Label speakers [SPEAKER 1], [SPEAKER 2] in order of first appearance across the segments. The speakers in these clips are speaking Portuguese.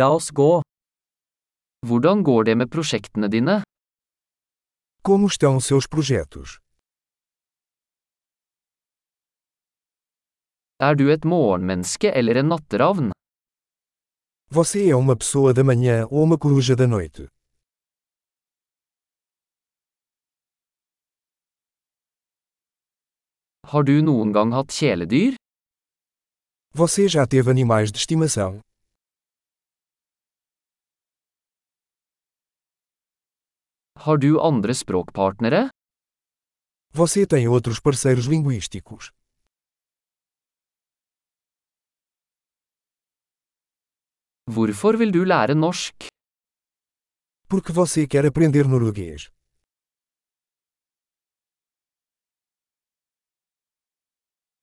[SPEAKER 1] La oss gå. Hvordan går det med prosjektene dine?
[SPEAKER 2] Como estão seus projetos?
[SPEAKER 1] Er du et morgenmenneske eller en natteravn?
[SPEAKER 2] Você é uma pessoa da manhã ou uma coruja da noite?
[SPEAKER 1] Har du noen gang hatt kjæledyr?
[SPEAKER 2] Você já teve animais de estimação?
[SPEAKER 1] Har du andre språkpartnere?
[SPEAKER 2] Você tem outros parceiros linguísticos?
[SPEAKER 1] Hvorfor vil du lære norsk?
[SPEAKER 2] Porque você quer aprender norueguês?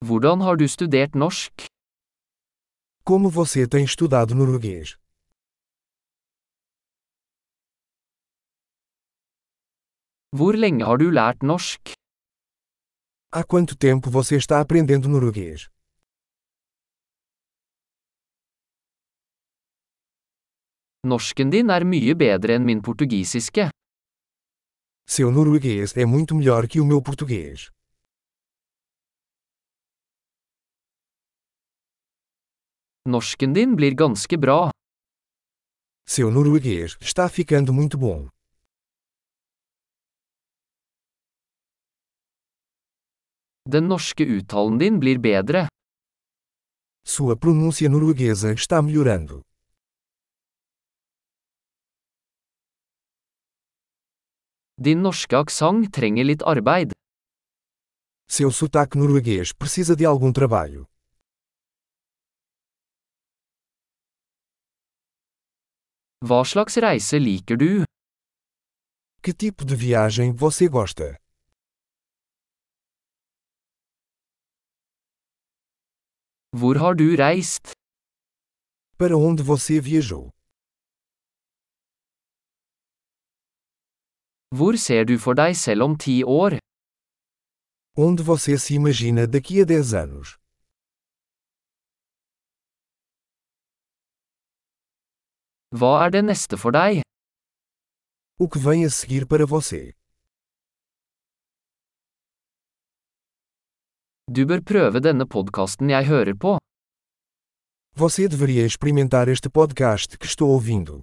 [SPEAKER 1] Hvordan har du studert norsk?
[SPEAKER 2] Como você tem estudado norueguês?
[SPEAKER 1] Hvor lenge har du lært norsk?
[SPEAKER 2] Há quanto tempo você está aprendendo norueguês?
[SPEAKER 1] Norsken din er mye bedre enn min portugisiske.
[SPEAKER 2] Seu norueguês é muito melhor que o meu português.
[SPEAKER 1] Norsken din blir ganske bra.
[SPEAKER 2] Seu norueguês está ficando muito bom.
[SPEAKER 1] Den norske uttalen din blir bedre.
[SPEAKER 2] Sua pronúncia norueguesa está melhorando.
[SPEAKER 1] Din norske aksang trenger litt arbeid.
[SPEAKER 2] Seu sotaque norueguês precisa de algum trabalho.
[SPEAKER 1] Hva slags reise liker du?
[SPEAKER 2] Que tipo de viagem você gosta?
[SPEAKER 1] Hvor har du reist?
[SPEAKER 2] Para onde você viajou?
[SPEAKER 1] Hvor ser du for deg selv om ti år?
[SPEAKER 2] Onde você se imagina daqui a 10 anos?
[SPEAKER 1] Hva er det neste for deg?
[SPEAKER 2] O que vem a seguir para você?
[SPEAKER 1] Du bør prøve denne podkasten jeg hører på.
[SPEAKER 2] Você deveria experimentar este podcast que estou ouvindo.